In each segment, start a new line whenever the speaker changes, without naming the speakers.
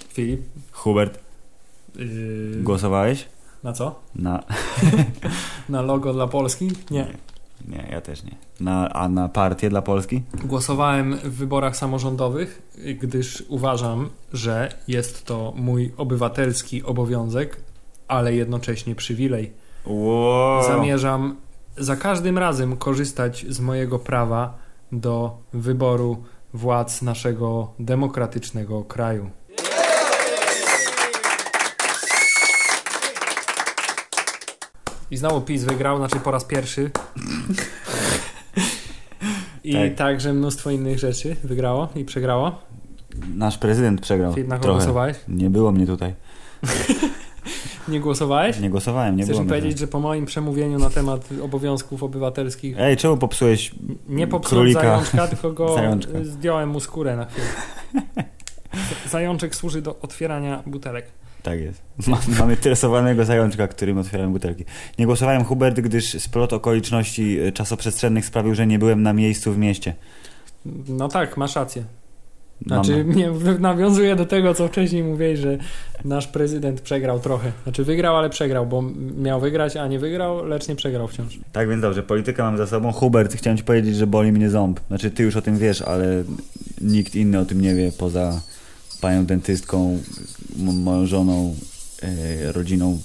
Filip,
Hubert,
yy,
głosowałeś?
na co?
Na...
Na logo dla Polski? Nie.
Nie, ja też nie. Na, a na partię dla Polski?
Głosowałem w wyborach samorządowych, gdyż uważam, że jest to mój obywatelski obowiązek, ale jednocześnie przywilej.
Wow.
Zamierzam za każdym razem korzystać z mojego prawa do wyboru władz naszego demokratycznego kraju. I znowu PiS wygrał, znaczy po raz pierwszy. I
Tak.
także mnóstwo innych rzeczy wygrało i przegrało.
Nasz prezydent przegrał.
Filip, na kogo
No, Trochę.
głosowałeś?
Nie było mnie tutaj.
Nie głosowałeś?
Nie głosowałem, nie
Chcesz
było
mi
mnie
powiedzieć, że po moim przemówieniu na temat obowiązków obywatelskich
tutaj. Ej, czemu popsułeś
Nie popsułem
królika?
zajączka, tylko go
Zajączka.
y, zdjąłem mu skórę na chwilę. Z- Zajączek służy do otwierania butelek.
Tak jest. Ma- Mamy tresowanego zajączka, którym otwierałem butelki. Nie głosowałem Hubert, gdyż splot okoliczności e, czasoprzestrzennych sprawił, że nie byłem na miejscu w mieście.
No tak, masz rację.
Mam-
Znaczy, nie, w- nawiązuję do tego, co wcześniej mówiłeś, że nasz prezydent przegrał trochę. Znaczy, wygrał, ale przegrał, bo m- miał wygrać, a nie wygrał, lecz nie przegrał wciąż.
Tak więc dobrze, politykę mam za sobą. Hubert, chciałem ci powiedzieć, że boli mnie ząb. Znaczy ty już o tym wiesz, ale nikt inny o tym nie wie poza panią dentystką, m- moją żoną, e, rodziną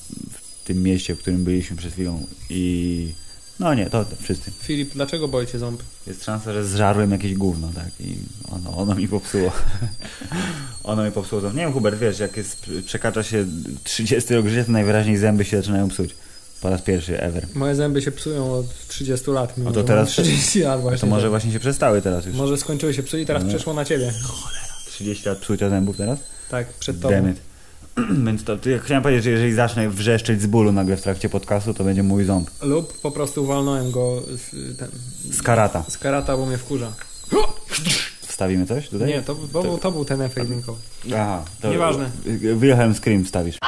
w tym mieście, w którym byliśmy przed chwilą i... No nie, to to wszyscy.
Filip, dlaczego boi cię ząb?
Jest szansa, że zżarłem jakieś gówno, tak? I ono, ono mi popsuło. ono mi popsuło ząb. Nie wiem, Hubert, wiesz, jak jest, przekracza się 30 rok życia, to najwyraźniej zęby się zaczynają psuć. Po raz pierwszy ever.
Moje zęby się psują od 30 lat. mimo
A to
że
teraz-
mam 30 lat właśnie. tak.
To może właśnie się przestały teraz już.
Może skończyły się psy i teraz
No.
przeszło na ciebie.
30 lat psucia zębów teraz?
Tak, przed tobą.
Demet. Więc to, to ja chciałem powiedzieć, że jeżeli zacznę wrzeszczeć z bólu nagle w trakcie podcastu, to będzie mój ząb.
Lub po prostu walnąłem go z, ten,
Z karata.
z karata, bo mnie wkurza.
Wstawimy coś tutaj?
Nie, to, to, był- to był ten efekt dźwiękowy.
Aha. To
Nieważne.
Wilhelm Scream wstawisz.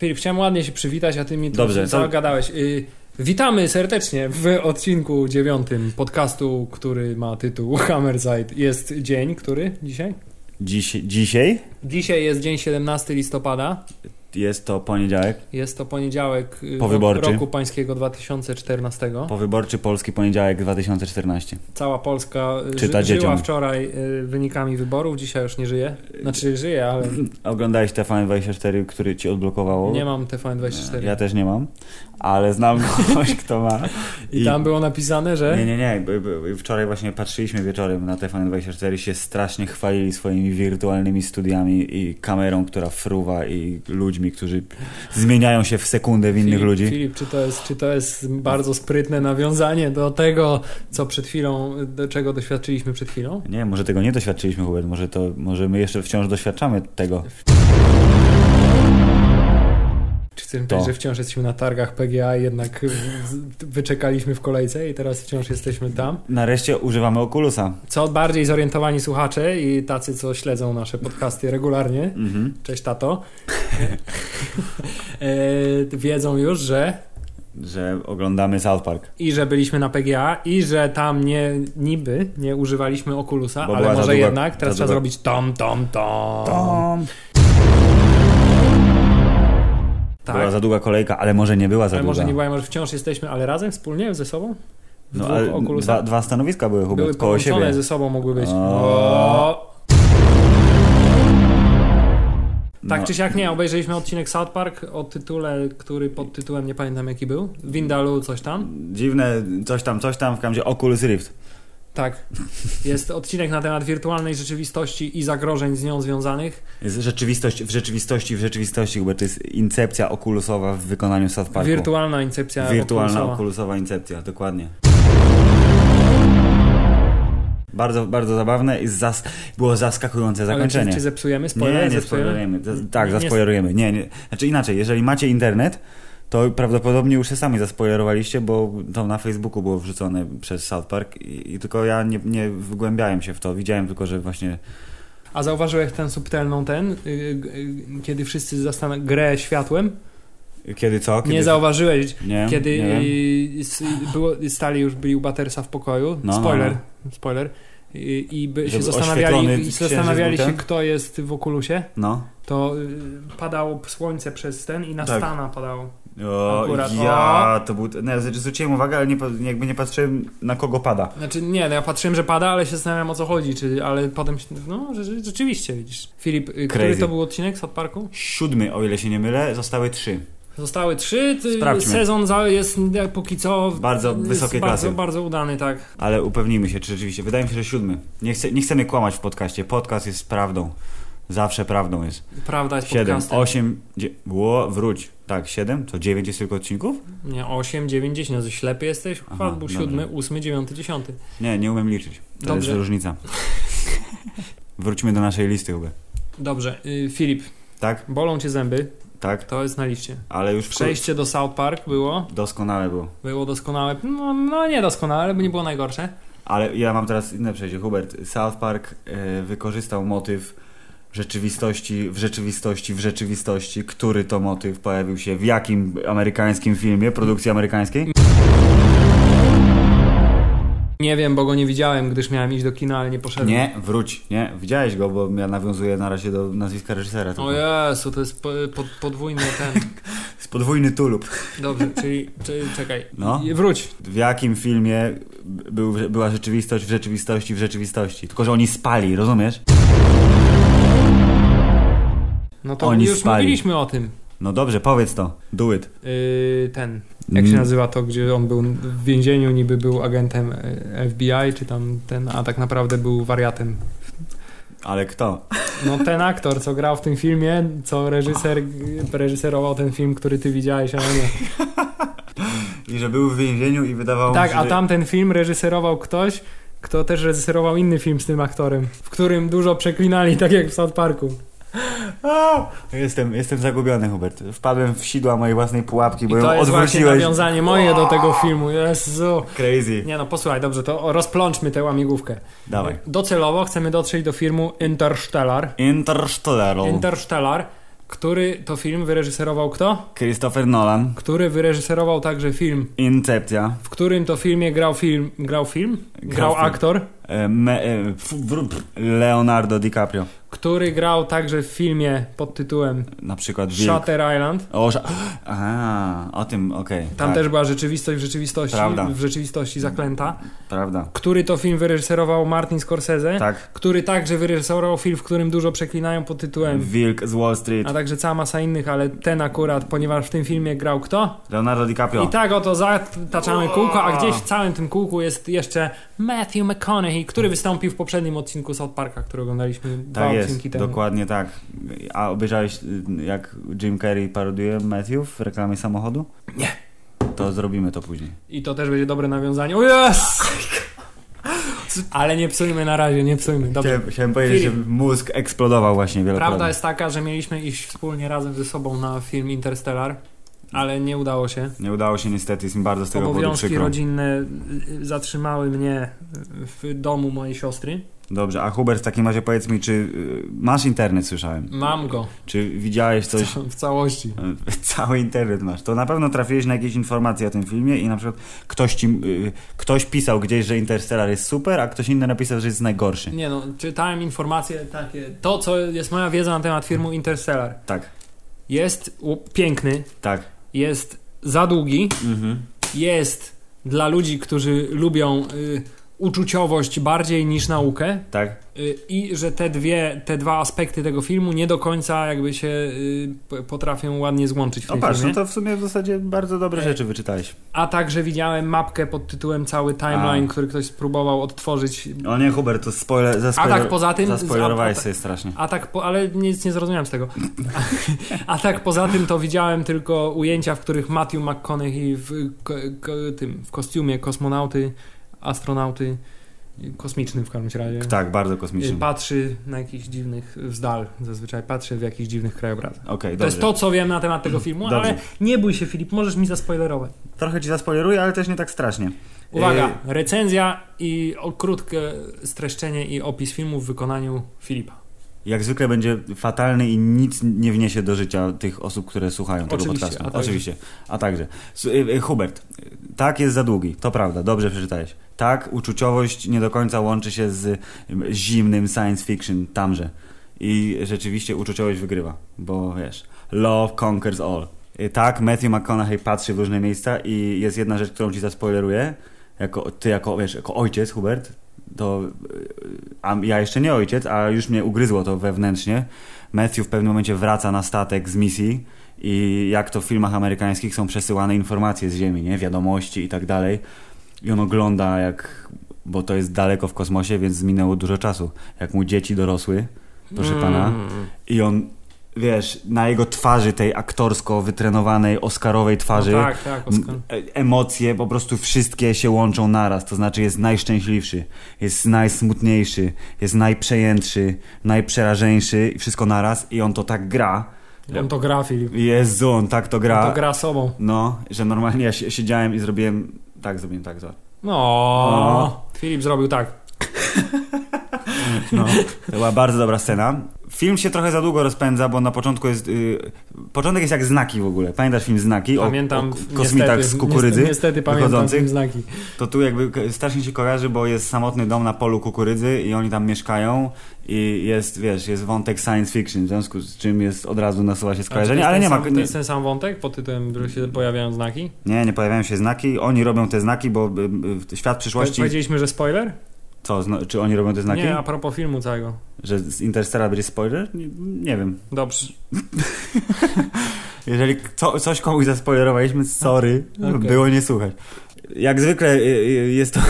Filip, chciałem ładnie się przywitać, a ty mi tu
Dobrze, to-
zagadałeś. Y, witamy serdecznie w odcinku dziewiątym podcastu, który ma tytuł Hammerzeit. Jest dzień, który dzisiaj?
Dziś, dzisiaj
Dzisiaj jest dzień 17 listopada.
jest to poniedziałek,
Jest to poniedziałek y,
Powyborczy.
roku pańskiego 2014.
powyborczy polski poniedziałek 2014.
Cała Polska y,
Czyta
ży, żyła
dzieciom.
wczoraj y, wynikami wyborów, dzisiaj już nie żyje. Znaczy żyje, ale
Oglądałeś TVN24, który ci odblokowało?
nie mam TVN24.
No. Ja też nie mam, ale znam kogoś, kto ma.
I tam było napisane, że...
Nie, nie, nie. b- b- Wczoraj właśnie patrzyliśmy wieczorem na TVN24 i się strasznie chwalili swoimi wirtualnymi studiami i kamerą, która fruwa i ludźmi, którzy zmieniają się w sekundę w innych
Filip,
ludzi.
Filip, czy to, jest, czy to jest bardzo sprytne nawiązanie do tego, co przed chwilą, do czego doświadczyliśmy przed chwilą?
Nie, może tego nie doświadczyliśmy, Hubert. Może, to, może my jeszcze wciąż doświadczamy tego.
Czy chcemy
To.
powiedzieć, że wciąż jesteśmy na targach PGA, i jednak z- wyczekaliśmy w kolejce i teraz wciąż jesteśmy tam?
Nareszcie używamy Oculusa.
Co bardziej zorientowani słuchacze i tacy, co śledzą nasze podcasty regularnie,
Mhm.
cześć tato, e, wiedzą już, że
Że oglądamy South Park.
i że byliśmy na PGA i że tam nie niby nie używaliśmy Oculusa,
Bo
ale
była
może
za długa-
jednak teraz
za
trzeba
długa-
zrobić tom, tom, tom.
Tom.
Tak.
Była za długa kolejka, ale może nie była za
ale
długa.
może nie była, może wciąż jesteśmy, ale razem wspólnie ze sobą? W
no,
dwóch
ale
okulusach
dwa, dwa stanowiska były, Hubert,
były
koło
połączone
siebie.
ze sobą mogły być.
O.
O. Tak
No.
czy siak nie, obejrzeliśmy odcinek South Park o tytule, który pod tytułem nie pamiętam jaki był. Windalu coś tam.
Dziwne, coś tam, coś tam, w kamzie Oculus Rift.
Tak. Jest odcinek na temat wirtualnej rzeczywistości i zagrożeń z nią związanych.
Jest rzeczywistość, w rzeczywistości, w rzeczywistości, bo to jest incepcja okulusowa w wykonaniu South Parku.
Wirtualna incepcja
Wirtualna
okulusowa.
okulusowa incepcja, dokładnie. Bardzo, bardzo zabawne i zas- było zaskakujące
Ale
zakończenie.
czy, czy zepsujemy? Spoiler?
Nie, nie
zepsujemy?
spoilerujemy. Z- Tak,
Nie- nie-
zaspoilerujemy. Nie, nie. Znaczy inaczej, jeżeli macie internet, to prawdopodobnie już się sami zaspoilerowaliście, bo to na Facebooku było wrzucone przez South Park i, i tylko ja nie, nie wgłębiałem się w to. Widziałem tylko, że właśnie
A zauważyłeś tę subtelną ten, y, g- y, kiedy wszyscy zastanawiają grę światłem?
kiedy co? Kiedy
Nie zauważyłeś,
nie,
kiedy
nie wiem.
y, s- było, stali już byli u Battersa w pokoju.
No,
spoiler,
no,
spoiler. i, i by się
Żeby
zastanawiali,
oświetlony
i
księżyc
zastanawiali
był
się,
ten?
kto jest w okulusie,
No.
to y, padało słońce przez ten i na
Tak.
Stana padało.
O,
Akurat,
ja, to był... Nie, znaczy zwróciłem uwagę, ale nie, po- jakby nie patrzyłem na kogo pada.
Znaczy nie, no ja patrzyłem, że pada, ale się zastanawiam o co chodzi, czy, ale potem się, no rze- rzeczywiście widzisz. Filip, y, który
Crazy.
to był odcinek z South Parku?
Siódmy, o ile się nie mylę, zostały trzy.
Zostały trzy, ty-
Sprawdźmy.
sezon za- jest e, póki co
Bardzo
jest
wysokiej
bardzo,
klasy.
Bardzo udany, tak.
Ale upewnijmy się, czy rzeczywiście. Wydaje mi się, że siódmy. Nie, chce, nie chcemy kłamać w podcaście. Podcast jest prawdą. Zawsze prawdą jest.
Prawda jest
Siedem,
podcastem.
osiem, dzie... Ło, wróć. Tak, siedem? To dziewięć jest tylko odcinków?
Nie, 8, 9, 10, no ślepy jesteś.
Aha,
Wpadł
dobra.
7, 8, 9, 10.
Nie, nie umiem liczyć. To
Dobrze.
jest różnica. Wróćmy do naszej listy chyba.
Dobrze, y, Filip,
Tak,
bolą cię zęby,
tak,
to jest na liście.
ale już Przejść.
Przejście do South Park było,
doskonale było.
było doskonałe, no, no nie doskonałe, bo nie było najgorsze.
Ale ja mam teraz inne przejście. Hubert, South Park e, wykorzystał motyw rzeczywistości w rzeczywistości w rzeczywistości. Który to motyw pojawił się w jakim amerykańskim filmie, produkcji amerykańskiej?
Nie wiem, bo go nie widziałem, gdyż miałem iść do kina, ale nie poszedłem.
Nie, wróć, nie. Widziałeś go, bo ja nawiązuję na razie do nazwiska reżysera.
O
tylko.
Jezu, to jest po, pod, podwójny ten.
Jest Podwójny tulub.
Dobrze, czyli, czyli czekaj.
No.
I- Wróć.
W jakim filmie był, była rzeczywistość w rzeczywistości w rzeczywistości? Tylko, że oni spali, rozumiesz?
No to
Oni
już
spali.
mówiliśmy o tym.
No dobrze, powiedz to. Do it.
Yy, ten. Jak się
Mm.
nazywa to, gdzie on był w więzieniu, niby był agentem e, FBI, czy tam ten, a tak naprawdę był wariatem.
Ale kto?
No ten aktor, co grał w tym filmie, co reżyser reżyserował ten film, który ty widziałeś, ale nie.
I że był w więzieniu i wydawało mu
Tak,
się,
a
że-
tamten film reżyserował ktoś, kto też reżyserował inny film z tym aktorem, w którym dużo przeklinali, tak jak w South Parku.
A! No, Jestem, jestem zagubiony, Hubert. Wpadłem w sidła mojej własnej pułapki,
I
bo
to
ją
jest właśnie
odwróciłeś.
nawiązanie moje do tego filmu, Jezu.
Crazy.
Nie no, posłuchaj, dobrze, to rozplączmy tę łamigłówkę.
Dawaj.
Docelowo chcemy dotrzeć do filmu Interstellar.
Interstellar.
Interstellar, który to film wyreżyserował kto?
Christopher Nolan.
Który wyreżyserował także film,
Incepcja.
w którym to filmie grał film, grał film,
Grał
grał
film.
aktor,
E, Me, e, f, wr, pr, Leonardo DiCaprio.
który grał także w filmie pod tytułem
Na przykład Wilk.
Shutter Island.
O, sza... Aha, o tym, okej.
Tam
tak,
też była rzeczywistość w rzeczywistości,
Prawda.
w rzeczywistości zaklęta.
Prawda.
Który to film wyreżyserował Martin Scorsese,
Tak.
który także wyreżyserował film, w którym dużo przeklinają pod tytułem,
Wilk z Wall Street.
a także cała masa innych, ale ten akurat, ponieważ w tym filmie grał kto?
Leonardo DiCaprio.
I tak oto zataczamy kółko, a gdzieś w całym tym kółku jest jeszcze Matthew McConaughey, który wystąpił w poprzednim odcinku South Parka, który oglądaliśmy dwa
Tak jest,
odcinki temu.
dokładnie tak. A obejrzałeś y, jak Jim Carrey parodiuje Matthew w reklamie samochodu? Nie. To zrobimy to później.
I to też będzie dobre nawiązanie. O yes! Ale nie psujmy na razie, nie psujmy. Dobrze.
Chciałem, chciałem powiedzieć, że
Filip.
mózg eksplodował właśnie wielokrotnie.
Prawda jest taka, że mieliśmy iść wspólnie razem ze sobą na film Interstellar, ale nie udało się.
Nie udało się niestety, jest mi bardzo z tego powodu
Obowiązki
przykro.
rodzinne y, zatrzymały mnie w domu mojej siostry.
Dobrze, a Hubert w takim razie powiedz mi, czy y, masz internet, słyszałem?
Mam go
Czy widziałeś coś...
w całości.
Y, Cały internet masz. To na pewno trafiłeś na jakieś informacje o tym filmie i na przykład ktoś ci, y, ktoś pisał gdzieś, że Interstellar jest super, a ktoś inny napisał, że jest najgorszy.
Nie no, czytałem informacje takie. To, co jest moja wiedza na temat filmu Interstellar.
Tak,
Jest u- piękny,
tak.
jest za długi,
Mhm.
jest dla ludzi, którzy lubią y, uczuciowość bardziej niż naukę
Tak.
y, i że te dwie, te dwa aspekty tego filmu nie do końca jakby się y, p- potrafią ładnie złączyć w
O
tym
patrz, no
filmie.
to w sumie w zasadzie bardzo dobre
E,
rzeczy wyczytałeś.
A także widziałem mapkę pod tytułem cały timeline, który ktoś spróbował odtworzyć.
O nie, Hubert, to No, spoiler,
A
zaspoiler,
tak poza tym...
zaspoilerowałeś
a-
sobie strasznie.
A tak, po, ale nic nie zrozumiałem z tego. A, a tak poza tym to widziałem tylko ujęcia, w których Matthew McConaughey w, ko, ko, tym, w kostiumie kosmonauty, astronauty, kosmicznym w każdym razie.
Tak, bardzo
Y,
kosmiczny. Okej,
Patrzy na jakichś dziwnych wzdal, zazwyczaj patrzy w jakichś dziwnych krajobrazach. To
dobrze.
jest to, co wiem na temat tego filmu,
Dobrze.
ale nie bój się Filip, możesz mi zaspoilerować.
Trochę ci zaspoileruję, ale też nie tak strasznie.
Uwaga,
Y,
recenzja i o, krótkie streszczenie i opis filmu w wykonaniu Filipa.
jak zwykle będzie fatalny i nic nie wniesie do życia tych osób, które słuchają tego
Oczywiście,
podcastu.
a także-
Oczywiście. A także. S- y, y, Hubert, y, tak jest za długi, to prawda, dobrze przeczytałeś. Tak, uczuciowość nie do końca łączy się z y, zimnym science fiction tamże. I rzeczywiście uczuciowość wygrywa, bo wiesz, love conquers all. Y, Tak, Matthew McConaughey patrzy w różne miejsca i jest jedna rzecz, którą ci zaspoileruję. Jako, ty jako, wiesz, jako ojciec, Hubert, to y, a ja jeszcze nie ojciec, a już mnie ugryzło to wewnętrznie. Matthew w pewnym momencie wraca na statek z misji i jak to w filmach amerykańskich są przesyłane informacje z Ziemi, nie? Wiadomości i tak dalej. I on ogląda jak... Bo to jest daleko w kosmosie, więc minęło dużo czasu. Jak mu dzieci dorosły, proszę pana.
Mm.
I on, wiesz, na jego twarzy, tej aktorsko wytrenowanej, oscarowej twarzy,
No tak, tak, Oskar.
M- e- Emocje po prostu wszystkie się łączą naraz, to znaczy jest najszczęśliwszy, jest najsmutniejszy, jest najprzejętszy, najprzerażeńszy i wszystko naraz i on to tak gra.
On to gra, Filip.
Jezu, on tak to gra.
On to gra sobą.
No, że normalnie ja si- siedziałem i zrobiłem tak, zrobiłem tak, zobacz.
No,
No.
Filip zrobił tak.
No, to była bardzo dobra scena. Film się trochę za długo rozpędza, bo na początku jest. y, początek jest jak znaki w ogóle. Pamiętasz film Znaki? O-
Pamiętam.
o, k- kosmitach
niestety,
z kukurydzy.
Niestety, niestety pamiętam
wychodzących.
tym znaki.
To tu jakby k- strasznie się kojarzy, bo jest samotny dom na polu kukurydzy i oni tam mieszkają i jest, wiesz, jest wątek science fiction, w związku z czym jest od razu nasuwa się skojarzenie, ale nie ma...
To jest ten sam wątek pod tytułem, że się pojawiają znaki?
Nie, nie pojawiają się znaki, oni robią te znaki, bo y, y, świat
Po-
przyszłości...
Powiedzieliśmy, że spoiler?
Co, zna, czy oni robią te znaki?
Nie, a propos filmu całego.
Że z Interstellar będzie spoiler? Nie, nie wiem.
Dobrze.
Jeżeli co, coś komuś zaspoilerowaliśmy, sorry,
Okej.
było nie słuchać. Jak zwykle y, y, jest to...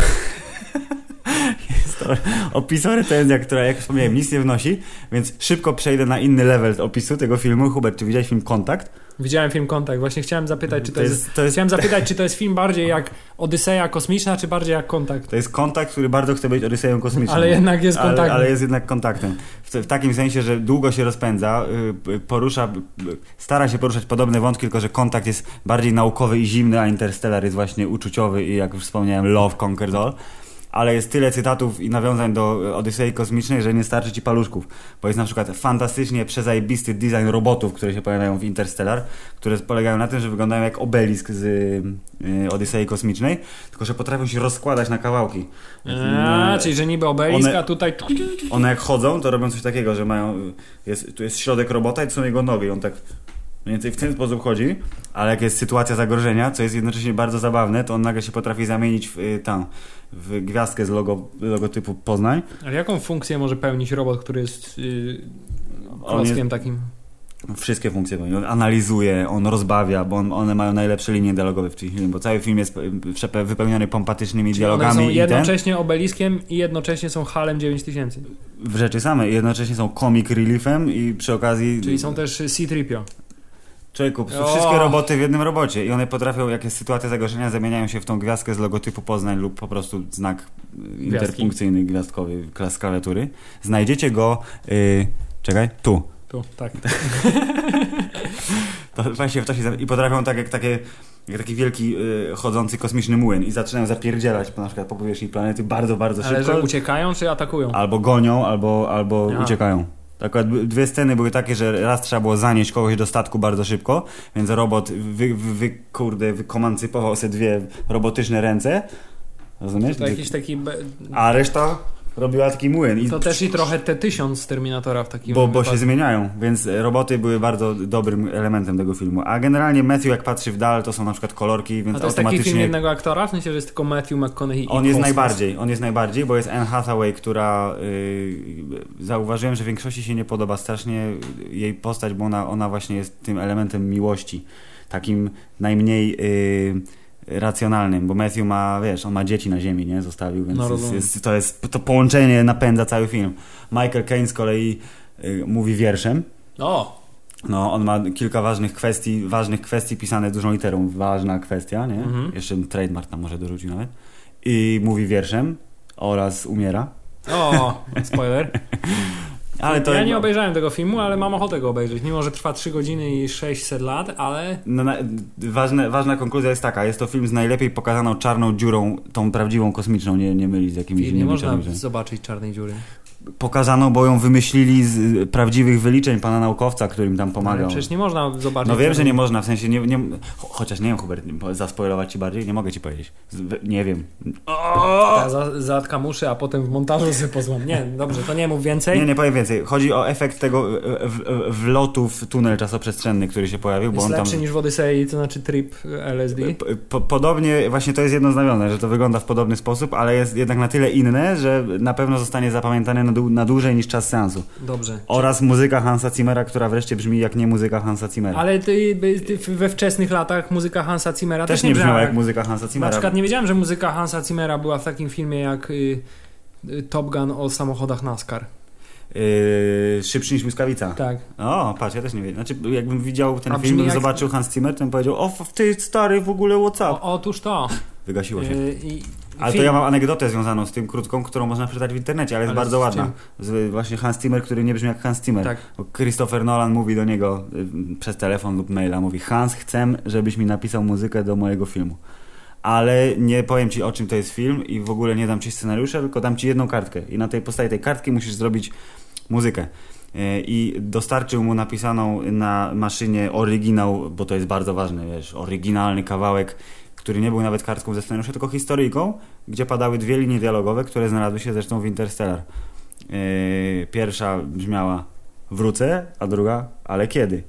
jest to opis o recenzja, która, jak wspomniałem, nic nie wnosi, więc szybko przejdę na inny level opisu tego filmu. Hubert, czy widziałeś film Kontakt?
Widziałem film Kontakt. Właśnie chciałem zapytać, czy to, jest...
to, jest,
Chciałem zapytać, czy to jest film bardziej jak Odyseja kosmiczna, czy bardziej jak Kontakt?
to jest Kontakt, który bardzo chce być Odyseją kosmiczną.
Ale jednak jest kontakt.
Ale, ale jest jednak kontaktem. W, w takim sensie, że długo się rozpędza, y, y, porusza, y, stara się poruszać podobne wątki, tylko że kontakt jest bardziej naukowy i zimny, a Interstellar jest właśnie uczuciowy i jak już wspomniałem, love conquers all. Ale jest tyle cytatów i nawiązań do y, Odysei Kosmicznej, że nie starczy ci paluszków. Bo jest na przykład fantastycznie przezajebisty design robotów, które się pojawiają w Interstellar, które polegają na tym, że wyglądają jak obelisk z y, y, Odysei Kosmicznej, tylko że potrafią się rozkładać na kawałki.
A, czyli że niby obelisk,
One-
a tutaj...
One jak chodzą, to robią coś takiego, że mają. Jest, tu jest środek robota i tu są jego nogi. i On tak mniej więcej w ten sposób chodzi, ale jak jest sytuacja zagrożenia, co jest jednocześnie bardzo zabawne, to on nagle się potrafi zamienić w y, tam, w gwiazdkę z logo, logotypu Poznań.
Ale jaką funkcję może pełnić robot, który jest yy,
On jest,
klockiem takim?
wszystkie funkcje pełni. On analizuje, on rozbawia, bo on, one mają najlepsze linie dialogowe w tym filmie, bo cały film jest y, przepe- wypełniony pompatycznymi
Czyli one są
dialogami i ten.
jednocześnie obeliskiem i jednocześnie są Halem 9000.
W rzeczy samej, jednocześnie są comic reliefem i przy okazji...
Czyli są też C-3PO.
Człowieku,
O!
wszystkie roboty w jednym robocie i one potrafią, jak jest sytuacja zagrożenia, zamieniają się w tą gwiazdkę z logotypu Poznań lub po prostu znak y, interpunkcyjny gwiazdkowy klas klawiatury. Znajdziecie go, y, czekaj, tu.
Tu, tak.
To właśnie w czasie zam- i potrafią tak jak takie jak taki wielki y, chodzący kosmiczny młyn i zaczynają zapierdzielać po, na przykład po powierzchni planety bardzo, bardzo
Ale
szybko.
że uciekają czy atakują?
Albo gonią, albo, albo
Aha.
uciekają. Tak, Akurat b- dwie sceny były takie, że raz trzeba było zanieść kogoś do statku bardzo szybko, więc robot wy, wy, wy kurde, wykomancypował sobie dwie robotyczne ręce. Rozumiesz?
To jakiś taki... be-
A reszta robiła taki młyn. I
To też i trochę T-1000 z Terminatora w takim
bo, bo się
wypadku.
zmieniają, więc roboty były bardzo dobrym elementem tego filmu. A generalnie Matthew jak patrzy w dal, to są na przykład kolorki, więc
A to jest taki film
automatycznie
jednego aktora? W sensie, że jest tylko Matthew McConaughey i
On jest
kosmos.
najbardziej, on jest najbardziej, bo jest Anne Hathaway, która y, zauważyłem, że większości się nie podoba strasznie jej postać, bo ona, ona właśnie jest tym elementem miłości, takim najmniej y, racjonalnym, bo Matthew ma, wiesz, on ma dzieci na ziemi, nie, zostawił, więc
No,
jest,
rozumiem.
jest, to jest, to połączenie napędza cały film. Michael Caine z kolei y, mówi wierszem,
O!
no, on ma kilka ważnych kwestii, ważnych kwestii pisane dużą literą. Ważna kwestia, nie?
Mhm.
Jeszcze trademark tam może dorzucił nawet. I mówi wierszem oraz umiera.
O! Spoiler.
Ale to
ja nie obejrzałem tego filmu, ale mam ochotę go obejrzeć. Mimo, że trwa 3 godziny i 600 lat, ale...
no, na, ważne, ważna konkluzja jest taka. Jest to film z najlepiej pokazaną czarną dziurą, tą prawdziwą kosmiczną, nie, nie mylić z jakimiś
Nie
innymi
można
czarnymi dziurami.
zobaczyć czarnej dziury.
pokazano, bo ją wymyślili z y, prawdziwych wyliczeń pana naukowca, którym tam pomagał.
Ale przecież nie można zobaczyć.
No wiem, że
tego.
nie można, w sensie nie, nie cho- chociaż nie wiem, Hubert, bo zaspoilować ci bardziej, nie mogę ci powiedzieć. Z- we- Nie wiem.
Ta za- Zatka muszy, a potem w montażu sobie pozłam. Nie, dobrze, to nie mów więcej.
Nie, nie powiem więcej. Chodzi o efekt tego e, w- e, wlotu w tunel czasoprzestrzenny, który się pojawił, bo
Jest
on tam
lepszy niż w Odysei, to znaczy trip LSD.
P- Po, podobnie, właśnie to jest jedno znamione, że to wygląda w podobny sposób, ale jest jednak na tyle inne, że na pewno zostanie zapamiętane na, dłu- na dłużej niż czas seansu.
Dobrze.
Oraz muzyka Hansa Zimmera, która wreszcie brzmi jak nie muzyka Hansa Zimmera.
Ale ty, by- ty w- we wczesnych latach muzyka Hansa Zimmera też,
Też nie brzmiała
brzmiała
jak muzyka Hansa
Na
Zimmera.
przykład nie wiedziałem, że muzyka Hansa Zimmera była w takim filmie jak y, y, Top Gun o samochodach NASCAR.
Yy, szybszy niż błyskawica.
Tak.
O, patrz, ja też nie wiem. Znaczy, jakbym widział ten
A
film,
brzmi jak-
zobaczył Hans Zimmer, to bym powiedział, o, f- ty stary, w ogóle WhatsApp.
O, otóż to.
Wygasiło się.
Y, i-
Ale to
film.
ja mam anegdotę związaną z tym krótką, którą można przeczytać w internecie, ale jest
Ale
bardzo
z
ładna. Z, właśnie Hans Zimmer, który nie brzmi jak Hans Zimmer.
Tak.
Bo Christopher Nolan mówi do niego y, przez telefon lub maila, mówi Hans, chcę, żebyś mi napisał muzykę do mojego filmu. Ale nie powiem ci o czym to jest film i w ogóle nie dam ci scenariusza, tylko dam ci jedną kartkę. I na tej podstawie tej kartki musisz zrobić muzykę. Y, I dostarczył mu napisaną na maszynie oryginał, bo to jest bardzo ważne, wiesz, oryginalny kawałek, który nie był nawet kartką ze scenariusza, tylko historyjką, gdzie padały dwie linie dialogowe, które znalazły się zresztą w Interstellar. Yy, pierwsza brzmiała wrócę, a druga ale kiedy?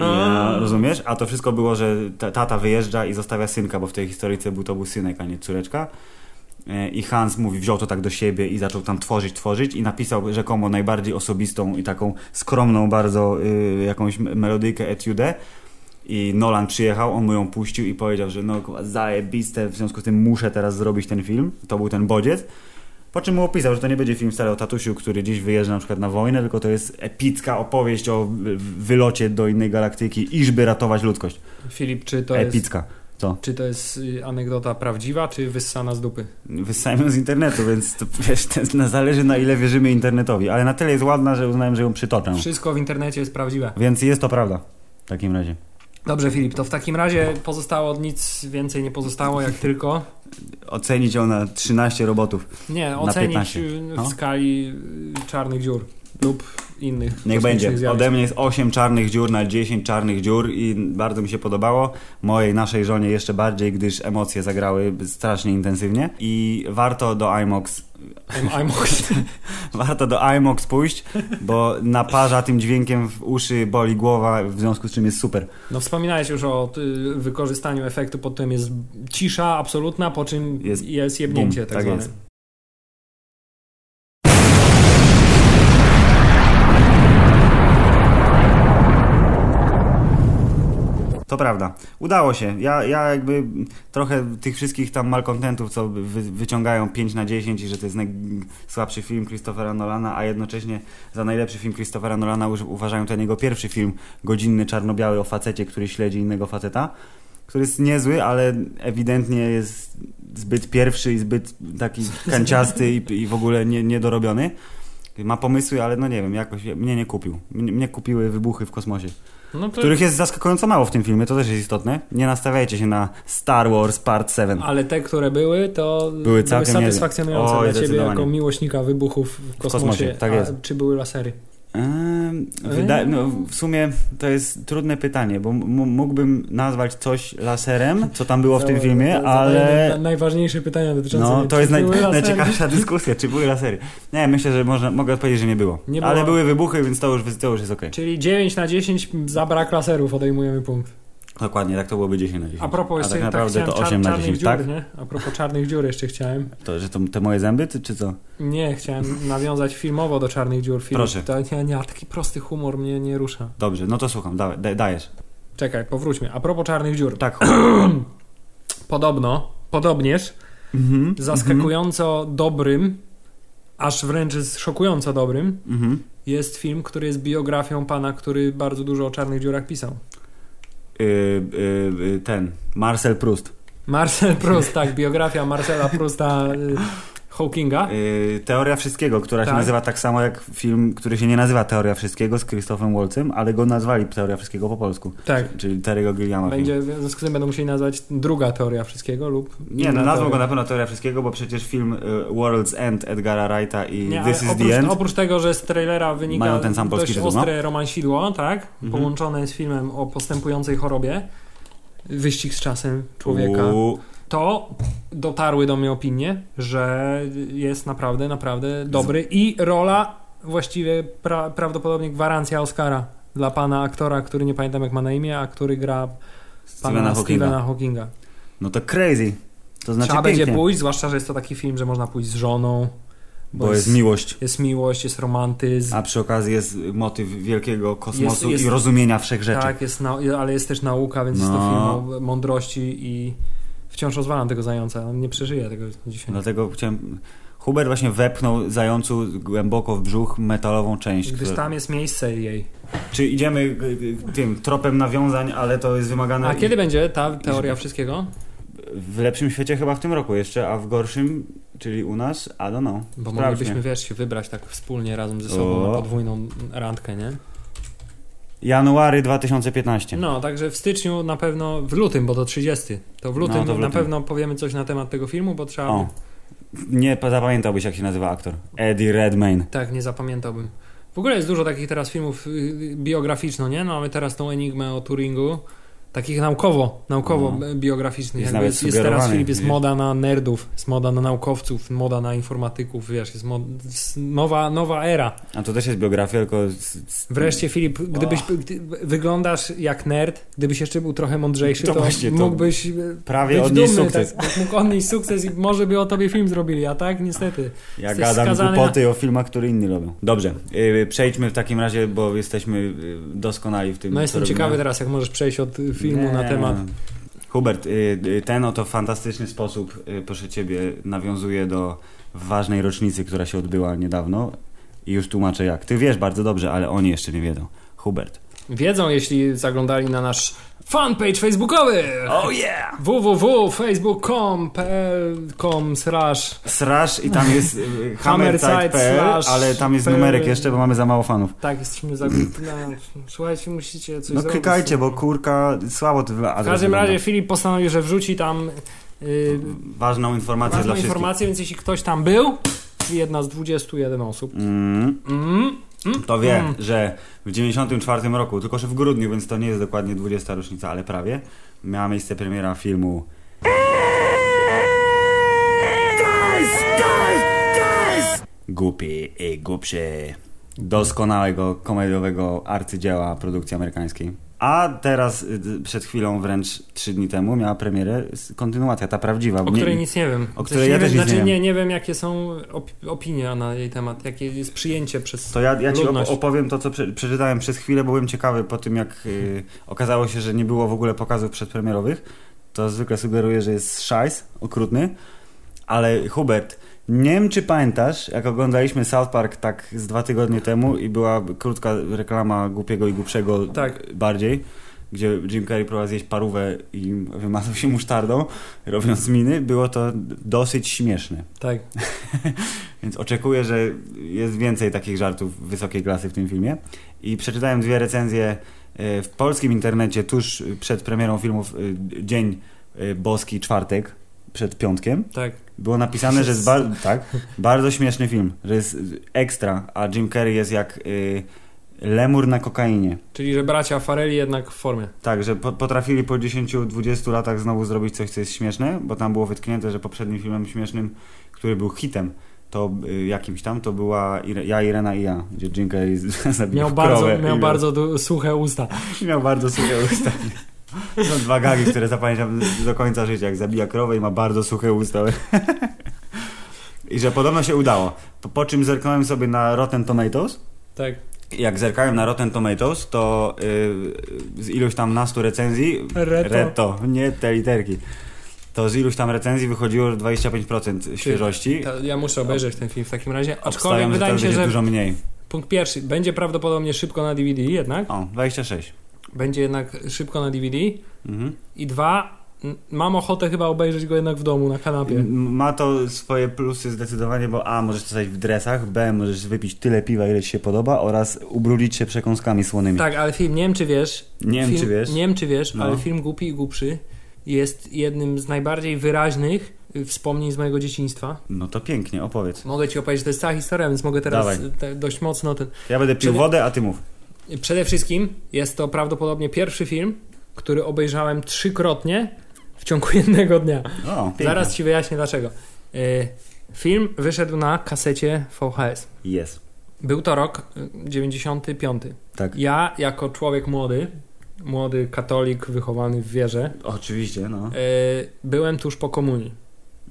I,
A.
e, rozumiesz? A to wszystko było, że ta, tata wyjeżdża i zostawia synka, bo w tej historyjce był to był synek, a nie córeczka. E, I Hans mówi, wziął to tak do siebie i zaczął tam tworzyć, tworzyć i napisał rzekomo najbardziej osobistą i taką skromną bardzo y, jakąś m- melodyjkę etiudę. I Nolan przyjechał, on mu ją puścił i powiedział, że no kurwa, zajebiste, w związku z tym muszę teraz zrobić ten film. To był ten bodziec. Po czym mu opisał, że to nie będzie film wcale o tatusiu, który dziś wyjeżdża na przykład na wojnę, tylko to jest epicka opowieść o wy- wylocie do innej galaktyki, iżby ratować ludzkość.
Filip, czy to jest...
epicka. Co?
Czy to jest y, anegdota prawdziwa, czy wyssana z dupy?
Wyssałem ją z internetu, więc to, wiesz, to jest- na- zależy na ile wierzymy internetowi, ale na tyle jest ładna, że uznałem, że ją przytoczę.
Wszystko w internecie jest prawdziwe.
Więc jest to prawda. W takim razie.
Dobrze, Filip, to w takim razie pozostało od nic więcej nie pozostało, jak tylko.
Ocenić ją na 13 robotów.
Nie,
Na
ocenić
15.
y,
No.
w skali y, czarnych dziur lub innych.
Niech
kosmicznych
będzie.
zjawisk.
Ode mnie jest 8 czarnych dziur na 10 czarnych dziur i bardzo mi się podobało. Mojej, naszej żonie jeszcze bardziej, gdyż emocje zagrały strasznie intensywnie. I warto do IMOX,
I'm, I'm
warto do IMOX pójść, bo naparza tym dźwiękiem w uszy, boli głowa, w związku z czym jest super.
No wspominałeś już o y, wykorzystaniu efektu, potem jest cisza absolutna, po czym
Jest
jest, jebnięcie
bum,
tak,
tak
zwane.
jest. To prawda. Udało się. Ja, ja jakby trochę tych wszystkich tam malkontentów, co wy, wyciągają 5 na 10 i że to jest najsłabszy film Christophera Nolana, a jednocześnie za najlepszy film Christophera Nolana uż- uważają ten jego pierwszy film, godzinny czarno-biały o facecie, który śledzi innego faceta, który jest niezły, ale ewidentnie jest zbyt pierwszy i zbyt taki kanciasty i, i w ogóle nie, niedorobiony. Ma pomysły, ale no nie wiem, jakoś mnie nie kupił. Mnie, mnie kupiły wybuchy w kosmosie.
No to,
Których jest zaskakująco mało w tym filmie, to też jest istotne. Nie nastawiajcie się na Star Wars Part 7.
Ale te, które były, to były,
całkiem niezłe.
satysfakcjonujące
Oj,
dla ciebie
zdecydowanie.
jako miłośnika wybuchów w kosmosie.
kosmosie, tak jest.
A, czy były lasery?
Ehm, wyda- no, w sumie to jest trudne pytanie, bo m- mógłbym nazwać coś laserem, co tam było w tym
Zadałem-
filmie,
zadałem na-
ale...
Najważniejsze pytania dotyczące
No, to
czy
jest naj-
były lasery?
najciekawsza dyskusja, czy były lasery. Nie, myślę, że można, mogę odpowiedzieć, że nie było.
Nie
ale
było.
były wybuchy, więc to już, to już jest okej.
Czyli 9 na 10 za brak laserów odejmujemy punkt.
Dokładnie, tak to byłoby 10 na 10.
A propos
A
jeszcze
tak naprawdę
chciałem
to 8 na
czarnych
10,
dziur,
tak?
nie? A propos czarnych dziur jeszcze chciałem.
To, że to te moje zęby, czy, czy co?
Nie, chciałem nawiązać filmowo do Czarnych Dziur. Film.
Proszę.
To, nie, nie, taki prosty humor mnie nie rusza.
Dobrze, no to słucham, da, da, dajesz.
Czekaj, powróćmy. A propos Czarnych Dziur.
Tak.
Podobno, podobnież,
Mhm,
zaskakująco dobrym, aż wręcz szokująco dobrym,
Mhm. mhm.
jest film, który jest biografią pana, który bardzo dużo o Czarnych Dziurach pisał.
y, y, y, ten, Marcel Proust.
Marcel Proust, tak, biografia Marcela Prusta y, Hawkinga.
Yy, Teoria Wszystkiego, która
Tak.
się nazywa tak samo jak film, który się nie nazywa Teoria Wszystkiego z Christophem Waltzem, ale go nazwali Teoria Wszystkiego po polsku.
Tak.
Czyli Terry'ego Gilliama. film.
Będzie, w związku z tym będą musieli nazwać druga teoria wszystkiego lub...
Nie, no
inna
nazwą
teoria.
go na pewno Teoria Wszystkiego, bo przecież film y, World's End Edgara Wrighta i
Nie,
This
ale
is
oprócz,
the End.
oprócz tego, że z trailera wynika
Mają ten sam polski
dość
tytuł, no.
ostre romansidło, tak?
Mhm.
Połączone z filmem o postępującej chorobie, wyścig z czasem człowieka,
U,
to dotarły do mnie opinie, że jest naprawdę, naprawdę dobry i rola właściwie pra, prawdopodobnie gwarancja Oscara dla pana aktora, który nie pamiętam jak ma na imię, a który gra pana
Stephena
Stephena
Hawkinga.
Hawkinga.
No to crazy. To znaczy
Trzeba
pięknie,
będzie pójść, zwłaszcza, że jest to taki film, że można pójść z żoną, bo
bo jest
jest-
miłość.
jest miłość, jest romantyzm.
A przy okazji jest motyw wielkiego kosmosu
Jest- jest-
i rozumienia wszechrzeczy.
Tak, jest nau- ale jest też nauka, więc jest to
No.
film o mądrości i wciąż rozwalam tego zająca. On nie przeżyje tego
No,
dzisiaj.
Dlatego chciałem... Hubert właśnie wepchnął zającu głęboko w brzuch metalową część.
Gdyż
która-
tam jest miejsce jej.
Czy idziemy y, y, tym tropem nawiązań, ale to jest wymagane...
A
i-
kiedy będzie ta teoria wszystkiego?
W lepszym świecie chyba w tym roku jeszcze, a w gorszym, czyli u nas, I don't know.
Bo
Sprawdźmy.
moglibyśmy, wiesz, się wybrać tak wspólnie razem ze sobą
O.
na podwójną randkę, nie?
January 2015.
No, także w styczniu na pewno, w lutym, bo to 30. To w lutym,
No, to w
na
lutym.
pewno powiemy coś na temat tego filmu, bo trzeba...
O. Nie pa- zapamiętałbyś, jak się nazywa aktor. Eddie Redmayne.
Tak, nie zapamiętałbym. W ogóle jest dużo takich teraz filmów y, biograficzno, nie? No, mamy teraz tą Enigmę o Turingu. Takich naukowo, naukowo
No.
b- biograficznych.
Jest
Jakby
nawet
Jest, jest teraz
sugerowany,
Filip, jest
wiesz.
moda na nerdów, jest moda na naukowców, moda na informatyków, wiesz, jest mod, s- nowa, nowa era.
A to też jest biografia, tylko... Z, z...
Wreszcie Filip, gdybyś gdy, wyglądasz jak nerd, gdybyś jeszcze był trochę mądrzejszy,
To
to,
właśnie, to
mógłbyś y,
Prawie
być
odnieść
dumny,
sukces.
Tak, mógł odnieść sukces i może by o tobie film zrobili, a tak niestety.
Ja
Jesteś
gadam
skazany
głupoty o filmach, które inni robią. Dobrze, yy, przejdźmy w takim razie, bo jesteśmy yy, doskonali w tym,
No
co
jestem
robimy.
ciekawy teraz, jak możesz przejść od y, filmu na
Nie.
temat
Hubert, y, y, ten oto fantastyczny sposób, y, proszę Ciebie, nawiązuje do ważnej rocznicy, która się odbyła niedawno i już tłumaczę jak. Ty wiesz bardzo dobrze, ale oni jeszcze nie wiedzą. Hubert.
Wiedzą, jeśli zaglądali na nasz fanpage facebookowy
Oh yeah!
www.facebook.com slash
Srasz i tam jest y, hammerside.pl,
Hammerside
ale tam jest
slash
numerek
pl.
jeszcze, bo mamy za mało fanów.
tak, jesteśmy zaglądani. Słuchajcie, musicie coś
No
zrobić.
klikajcie, bo kurka, słabo to
W każdym razie Filip postanowił, że wrzuci tam yy,
Ważną informację
ważną
dla wszystkich.
informację, więc jeśli ktoś tam był, jedna z 21 osób.
Mm.
Mm, mm,
To wie,
mm.
że w 94 roku, tylko że w grudniu, więc to nie jest dokładnie 20 rocznica, ale prawie, miała miejsce premiera filmu Głupi i głupszy doskonałego komediowego arcydzieła produkcji amerykańskiej. A teraz y, y, przed chwilą, wręcz trzy dni temu, miała premierę s- kontynuacja, ta prawdziwa.
O
Nie-
której nic nie wiem.
o której ja
nie
też
wiem,
nic nie
znaczy,
wiem.
nie, nie wiem, jakie są op- opinie na jej temat, jakie jest przyjęcie przez
To ja, ja ci op-
Ludność.
opowiem to, co prze- przeczytałem przez chwilę, bo byłem ciekawy po tym, jak y, okazało się, że nie było w ogóle pokazów przedpremierowych. To zwykle sugeruje, że jest szajs okrutny. Ale Hubert, nie wiem, czy pamiętasz, jak oglądaliśmy South Park tak z dwa tygodnie temu i była krótka reklama głupiego i głupszego
Tak.
bardziej, gdzie Jim Carrey próbował zjeść parówę i wymazał się musztardą, robiąc miny. Było to dosyć śmieszne.
tak.
Więc oczekuję, że jest więcej takich żartów wysokiej klasy w tym filmie. I przeczytałem dwie recenzje e, w polskim internecie tuż przed premierą filmów e, Dzień e, Boski Czwartek przed piątkiem.
Tak.
Było napisane, że jest bar- tak, bardzo śmieszny film, że jest e, ekstra, a Jim Carrey jest jak e, lemur na kokainie.
Czyli, że bracia Fareli jednak w formie.
Tak, że po, potrafili po 10-20 latach znowu zrobić coś, co jest śmieszne, bo tam było wytknięte, że poprzednim filmem śmiesznym, który był hitem, to y, jakimś tam, to była Ire- Ja, Irena i ja, gdzie Jim Carrey z- zabił
Miał
krowę
bardzo,
i
miał bardzo du- suche usta.
miał bardzo suche usta. Są dwa gagi, które zapamiętam do końca życia, jak zabija krowę i ma bardzo suche usta. I że podobno się udało. Po, po czym zerknąłem sobie na Rotten Tomatoes
Tak.
jak zerkałem na Rotten Tomatoes, to y, z iluś tam nastu recenzji.
Reto.
Reto, nie te literki. To z iluś tam recenzji wychodziło że 25% świeżości.
To ja muszę obejrzeć ten film w takim razie. Aczkolwiek
Obstawiam, że
wydaje mi
teraz
się,
będzie
Tak. że
dużo mniej.
punkt pierwszy będzie prawdopodobnie szybko na DVD jednak.
O, 26.
Będzie jednak szybko na DVD.
Mhm.
I dwa, mam ochotę chyba obejrzeć go jednak w domu, na kanapie.
Ma to swoje plusy zdecydowanie, bo A, możesz stać w dresach, B, możesz wypić tyle piwa, ile ci się podoba oraz ubrudzić się przekąskami słonymi.
Tak, ale film, nie wiem czy wiesz.
Nie wiem,
film,
czy wiesz.
Nie wiem czy wiesz,
No.
ale film Głupi i Głupszy jest jednym z najbardziej wyraźnych y, wspomnień z mojego dzieciństwa.
No to pięknie, opowiedz.
Mogę ci opowiedzieć, to jest cała historia, więc mogę teraz
Dawaj.
y, te, dość mocno ten.
Ja będę pił
Czyli-
wodę, a ty mów.
Przede wszystkim jest to prawdopodobnie pierwszy film, który obejrzałem trzykrotnie w ciągu jednego dnia.
O, pięknie.
Zaraz ci wyjaśnię dlaczego. Y, Film wyszedł na kasecie VHS.
Jest.
Był to rok y, 95.
Tak.
Ja, jako człowiek młody, młody katolik wychowany w wierze,
Oczywiście, no.
y, byłem tuż po komunii,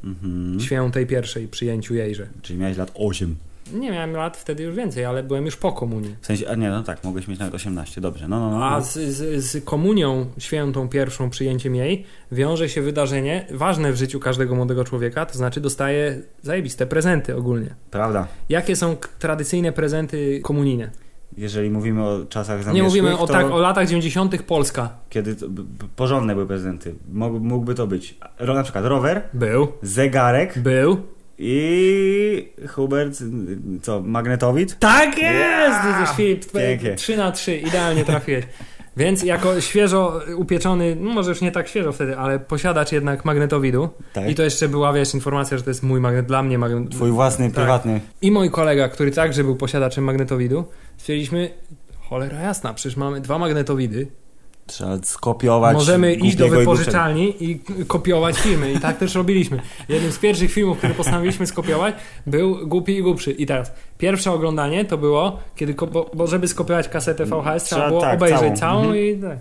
Mhm.
świętej pierwszej, przyjęciu jejże.
Czyli miałeś lat 8.
Nie miałem lat wtedy już więcej, ale byłem już po komunii.
W sensie, a nie, no tak, mogłeś mieć nawet 18, dobrze. No, no, no.
A z, z, z komunią świętą pierwszą, przyjęciem jej, wiąże się wydarzenie ważne w życiu każdego młodego człowieka, to znaczy dostaje zajebiste prezenty ogólnie.
Prawda.
Jakie są k- tradycyjne prezenty komunijne?
Jeżeli mówimy o czasach
Nie
zamierzchłych,
mówimy
to
o, tak, o latach 90. Polska.
kiedy to, b- b- porządne były prezenty, Mógł, mógłby to być ro, na przykład rower,
Był,
zegarek
był.
i Hubert, co, magnetowid?
Tak jest!
Ja!
Jesteś Filip,
Pięknie.
3 na 3, idealnie trafiłeś. Więc jako świeżo upieczony, no może już nie tak świeżo wtedy, ale posiadacz jednak magnetowidu.
Tak.
I to jeszcze była, wiesz, informacja, że to jest mój magnet, dla mnie magnet.
Twój własny,
Tak.
prywatny.
I mój kolega, który także był posiadaczem magnetowidu, stwierdziliśmy, cholera jasna, przecież mamy dwa magnetowidy,
Trzeba skopiować.
możemy iść do
głupiego i
wypożyczalni i k- kopiować filmy. I tak też robiliśmy. Jednym z pierwszych filmów, który postanowiliśmy skopiować, był Głupi i Głupszy. I teraz, pierwsze oglądanie to było, kiedy, ko- bo, bo żeby skopiować kasetę VHS, trzeba
Trzeba
było
tak,
obejrzeć
całą.
całą, i tak.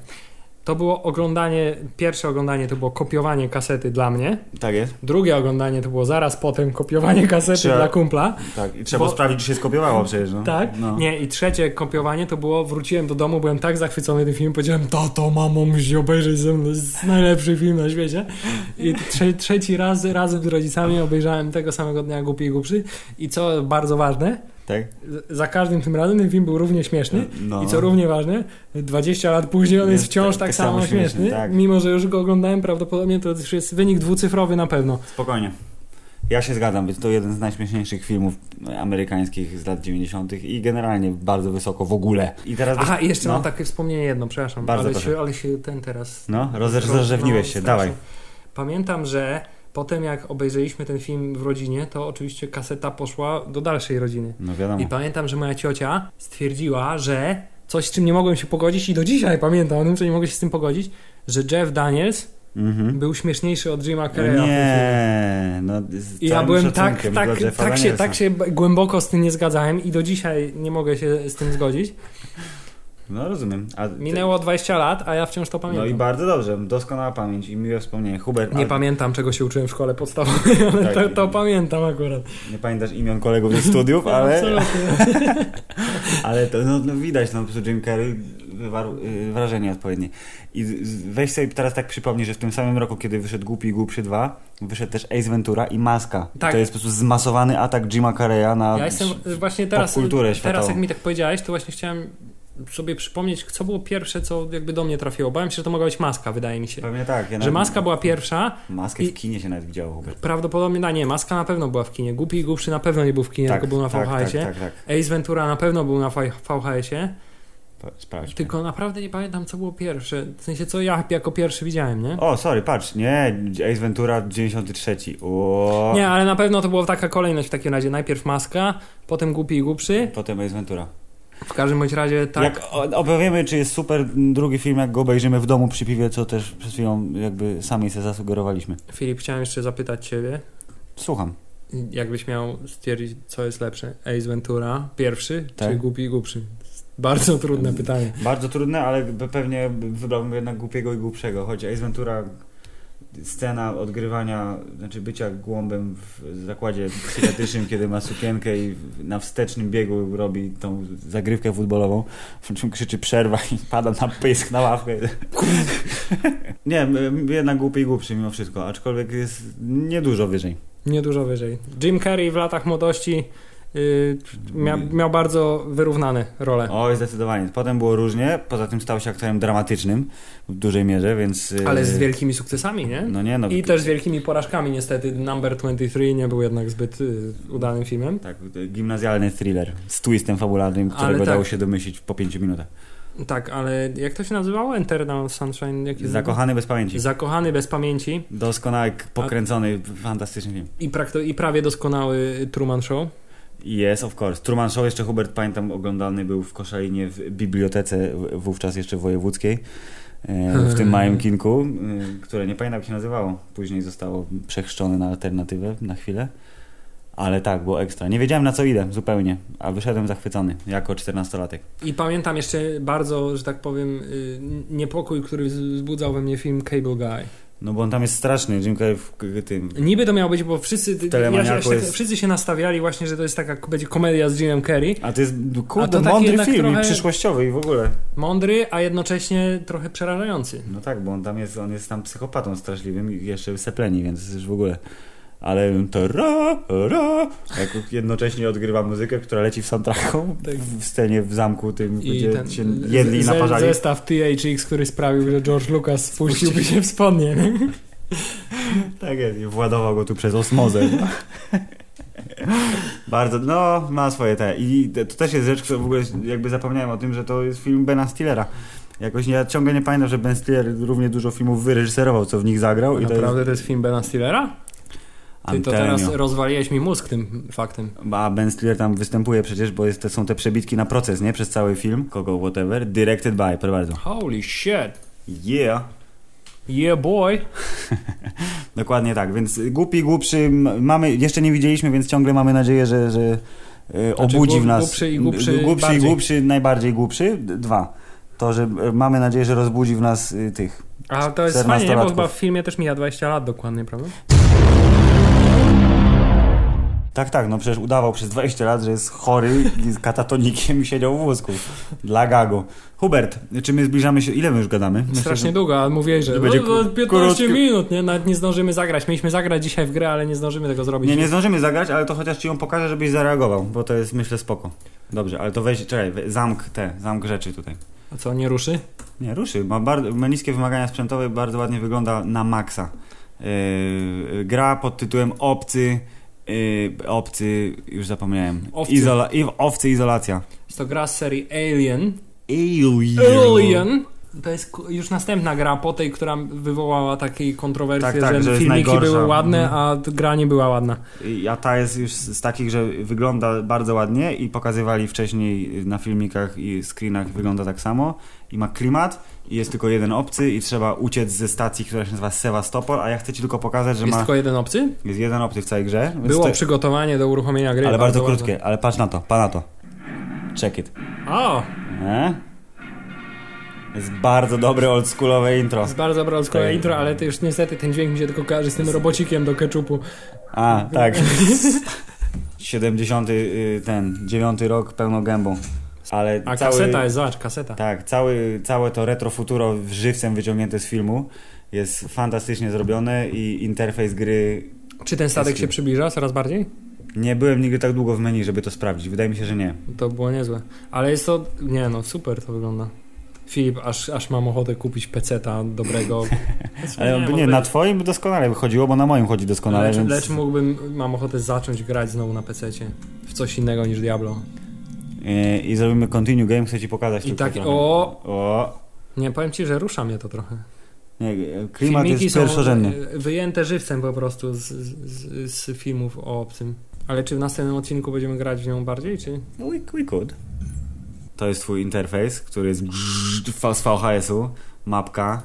To było oglądanie, pierwsze oglądanie to było kopiowanie kasety dla mnie,
głupiego. Tak jest.
drugie oglądanie to było zaraz potem kopiowanie kasety
Trzeba-
dla kumpla.
Tak. I trzeba
Bo-
sprawdzić, czy się skopiowało przecież. No.
Tak?
No.
Nie, i trzecie kopiowanie to było, wróciłem do domu, byłem tak zachwycony tym filmem, powiedziałem, tato, mamo, musisz obejrzeć ze mną, to jest najlepszy film na świecie. I trze- trzeci raz razem z rodzicami obejrzałem tego samego dnia Głupi i Głupszy. I co bardzo ważne,
Tak?
z- za każdym tym razem ten film był równie śmieszny.
No.
I co równie ważne, 20 lat później on jest,
Jest
wciąż tak,
tak- tak
samo
samo śmieszny,
śmieszny,
tak.
mimo że już go oglądałem prawdopodobnie, to już jest wynik dwucyfrowy na pewno.
Spokojnie. Ja się zgadzam, więc to jeden z najśmieszniejszych filmów amerykańskich z lat 90. i generalnie bardzo wysoko w ogóle. I teraz.
Aha, i jeszcze
no.
mam tak- takie wspomnienie jedno, przepraszam,
Bardzo
ale,
proszę.
się, ale się ten teraz
No, rozer- rozrzewniłeś się,
No,
dawaj.
strasznie. Pamiętam, że potem jak obejrzeliśmy ten film w rodzinie, to oczywiście kaseta poszła do dalszej rodziny.
No wiadomo.
I pamiętam, że moja ciocia stwierdziła, że coś, z czym nie mogłem się pogodzić i do dzisiaj pamiętam o tym, że nie mogę się z tym pogodzić, że Jeff Daniels
Mhm.
był śmieszniejszy od Jima
No
Carreya. w tym filmie.
nie, no z
I ja
całym
byłem tak,
szacunkiem
tak,
dla Jeffa
tak, się,
Danielsa.
tak się b- głęboko z tym nie zgadzałem i do dzisiaj nie mogę się z tym zgodzić.
No rozumiem. A ty-
Minęło 20 lat, a ja wciąż to
No i
pamiętam.
bardzo dobrze, doskonała pamięć i miłe wspomnienie. Hubert,
Nie
ale
pamiętam, czego się uczyłem w szkole podstawowej, ale
Tak.
to, to pamiętam akurat.
nie pamiętasz imion kolegów ze studiów, ale,
Absolutnie.
ale to no, no, widać, no po prostu Jim Carrey wywarł y, wrażenie odpowiednie. I z- z- weź sobie teraz tak przypomnij, że w tym samym roku, kiedy wyszedł Głupi i Głupszy 2, wyszedł też Ace Ventura i Maska.
Tak.
To jest po prostu zmasowany atak Jima Carreya na...
Ja jestem właśnie teraz,
popkulturę
teraz
światową.
jak mi tak powiedziałeś, to właśnie chciałem sobie przypomnieć, co było pierwsze, co jakby do mnie trafiło. Bałem się, że to mogła być maska, wydaje mi się.
Pewnie tak. Ja
Że
nawet-
maska była pierwsza,
Maskę
i-
w kinie się nawet widziało, Hubert.
prawdopodobnie, no nie, maska na pewno była w kinie. Głupi i głupszy na pewno nie był w kinie, tylko był na
tak, tak,
VHS-ie.
tak, tak.
Ace Ventura na pewno był na V- VHS-ie,
Pa- Sprawdźmy.
tylko naprawdę nie pamiętam, co było pierwsze. W sensie, co ja jako pierwszy widziałem, nie?
O, sorry, patrz, nie, Ace Ventura 93. O.
Nie, ale na pewno to była taka kolejność w takim razie. Najpierw maska, potem głupi i głupszy.
Potem Ace Ventura.
W każdym bądź razie tak.
Jak o- opowiemy, czy jest super drugi film, jak go obejrzymy w domu przy piwie, co też przed chwilą jakby sami sobie zasugerowaliśmy.
Filip, chciałem jeszcze zapytać ciebie,
Słucham.
jakbyś miał stwierdzić, co jest lepsze, Ace Ventura pierwszy,
Tak. Mm.
czy Głupi i Głupszy? Bardzo trudne pytanie.
Bardzo trudne, ale pe- pewnie wybrałbym jednak głupiego i głupszego, choć Ace Ventura scena odgrywania, znaczy bycia głąbem w zakładzie psychiatrycznym, kiedy ma sukienkę i w- na wstecznym biegu robi tą zagrywkę futbolową, po czym krzyczy przerwa i pada na pysk, na ławkę. Nie, m- jednak głupi i głupszy mimo wszystko, aczkolwiek jest niedużo wyżej.
Niedużo wyżej. Jim Carrey w latach młodości, y, mia, miał bardzo wyrównane role.
Oj, zdecydowanie. Potem było różnie, poza tym stał się aktorem dramatycznym w dużej mierze, więc... y,
Ale z wielkimi sukcesami, nie?
No nie, no...
I też z wielkimi porażkami niestety. Number 23 nie był jednak zbyt y, udanym filmem.
Tak, gimnazjalny thriller z twistem fabularnym, którego
tak.
dało się domyślić po pięciu minutach.
Tak, ale jak to się nazywało? Eternal Sunshine? Jak jest-
Zakochany bez pamięci.
Zakochany bez pamięci
Doskonały, pokręcony, fantastyczny film.
i, prakto- i prawie doskonały Truman Show.
Yes, of course. Truman Show jeszcze Hubert, pamiętam, oglądalny był w Koszalinie w bibliotece w- wówczas jeszcze wojewódzkiej. e, W tym małym kinku, e, które nie pamiętam jak się nazywało. Później zostało przechrzczone na alternatywę na chwilę. Ale tak, było ekstra. Nie wiedziałem na co idę zupełnie, a wyszedłem zachwycony jako 14-latek.
I pamiętam jeszcze bardzo, że tak powiem, y, niepokój, który z- wzbudzał we mnie film Cable Guy.
No bo on tam jest straszny, Jim Carrey w k- tym.
Niby to miało być, bo wszyscy, ja,
Telemaniaku
ja się, tak-
jest-
wszyscy się nastawiali właśnie, że to jest taka będzie komedia z Jimem Carrey.
A to jest kurde,
taki
mądry
jednak
film
trochę-
i przyszłościowy i w ogóle.
Mądry, a jednocześnie trochę przerażający.
No tak, bo on tam jest, on jest tam psychopatą straszliwym i jeszcze sepleni, więc już w ogóle. Ale to ra, ra, jak jednocześnie odgrywa muzykę, która leci w soundtracku
Tak.
w scenie w zamku tym, gdzie się jedli i
z-
naparzali.
zestaw THX, który sprawił, że George Lucas spuściłby się w spodnie. nie?
Tak jest, i władował go tu przez osmozę. Bardzo, no, ma swoje te. I te- to też jest rzecz, która w ogóle jakby zapomniałem o tym, że to jest film Bena Stillera. Jakoś nie, ja ciągle nie pamiętam, że Ben Stiller równie dużo filmów wyreżyserował, co w nich zagrał. I
Naprawdę to jest film Bena Stillera?
to
Ty
jest
to teraz rozwaliłeś mi mózg tym faktem.
A Ben Stiller tam występuje przecież, bo jest, to są te przebitki na proces, nie? Przez cały film. Kogo, whatever. Directed by, proszę bardzo.
Holy shit.
Yeah.
Yeah boy.
Dokładnie tak, więc głupi, głupszy, m- mamy, jeszcze nie widzieliśmy, więc ciągle mamy nadzieję, że, że e,
Znaczy,
obudzi
głup-
w nas.
głupszy i głupszy
Głupszy i
bardziej.
głupszy, najbardziej głupszy. D- Dwa. To, że e, mamy nadzieję, że rozbudzi w nas y, tych.
A to jest fajnie, bo
14-latków.
chyba w filmie też mija 20 lat dokładnie, prawda?
Tak, tak, no przecież udawał przez 20 lat, że jest chory i z katatonikiem i siedział w wózku. Dla gago. Hubert, czy my zbliżamy się, ile my już gadamy? Myślę,
Strasznie
że-
długo, ale mówię, że
To będzie
no, to 15
krótki.
minut, nie? Nawet nie zdążymy zagrać. Mieliśmy zagrać dzisiaj w grę, ale nie zdążymy tego zrobić.
Nie, nie zdążymy zagrać, ale to chociaż ci ją pokażę, żebyś zareagował, bo to jest myślę spoko. Dobrze, ale to weź, czekaj, we- zamk te, zamk rzeczy tutaj.
A co, nie ruszy?
Nie, ruszy, ma, bardzo, ma niskie wymagania sprzętowe, bardzo ładnie wygląda na maksa. Yy, gra pod tytułem Obcy, yy, Obcy, już zapomniałem.
Owcy.
Izola, i, owcy Izolacja.
Jest to gra z serii Alien.
Alien.
Alien. To jest ku- już następna gra po tej, która wywołała takiej kontrowersji,
Tak, tak,
że,
że jest
filmiki
najgorsza.
były ładne,
Mhm.
a t- gra nie była ładna.
I- A ta jest już z z takich, że wygląda bardzo ładnie i pokazywali wcześniej na filmikach i screenach wygląda tak samo i ma klimat i jest tylko jeden obcy i trzeba uciec ze stacji, która się nazywa Sewastopol, a ja chcę Ci tylko pokazać, że
Jest
ma...
tylko jeden obcy.
Jest jeden obcy w całej grze. więc
Było
to-
przygotowanie do uruchomienia gry.
Ale bardzo
ładne.
krótkie, ale patrz na to, pa na to. Check it.
O,
E? Jest bardzo dobre oldschoolowe intro.
jest bardzo brązkowe
Tak.
intro, ale to już niestety ten dźwięk mi się tylko kojarzy z tym robocikiem do keczupu.
A, tak. 70 y, ten, 9 rok pełną gębą. Ale
A
cały...
kaseta jest, zobacz, kaseta.
Tak, cały, całe to retrofuturo żywcem wyciągnięte z filmu jest fantastycznie zrobione i interfejs gry...
Czy ten statek
Jest-
się przybliża coraz bardziej?
Nie byłem nigdy tak długo w menu, żeby to sprawdzić. Wydaje mi się, że nie.
To było niezłe. Ale jest to. Nie no, super to wygląda. Filip, aż, aż mam ochotę kupić peceta dobrego. Znaczy,
Ale nie, nie na twoim doskonale wychodziło, bo na moim chodzi doskonale,
lecz,
więc...
lecz mógłbym, mam ochotę zacząć grać znowu na pececie. W coś innego niż Diablo.
Yy, I zrobimy continue game, chcę ci pokazać
I
tylko
tak-
trochę.
o!
o.
Nie, powiem ci, że rusza mnie to trochę.
Nie, klimat
Filmiki
jest
są
pierwszorzędny.
y, wyjęte żywcem po prostu z, z, z filmów o obcym. Ale czy w następnym odcinku będziemy grać w nią bardziej, czy?
We, we could. To jest twój interfejs, który jest grrrr z VHS-u, mapka,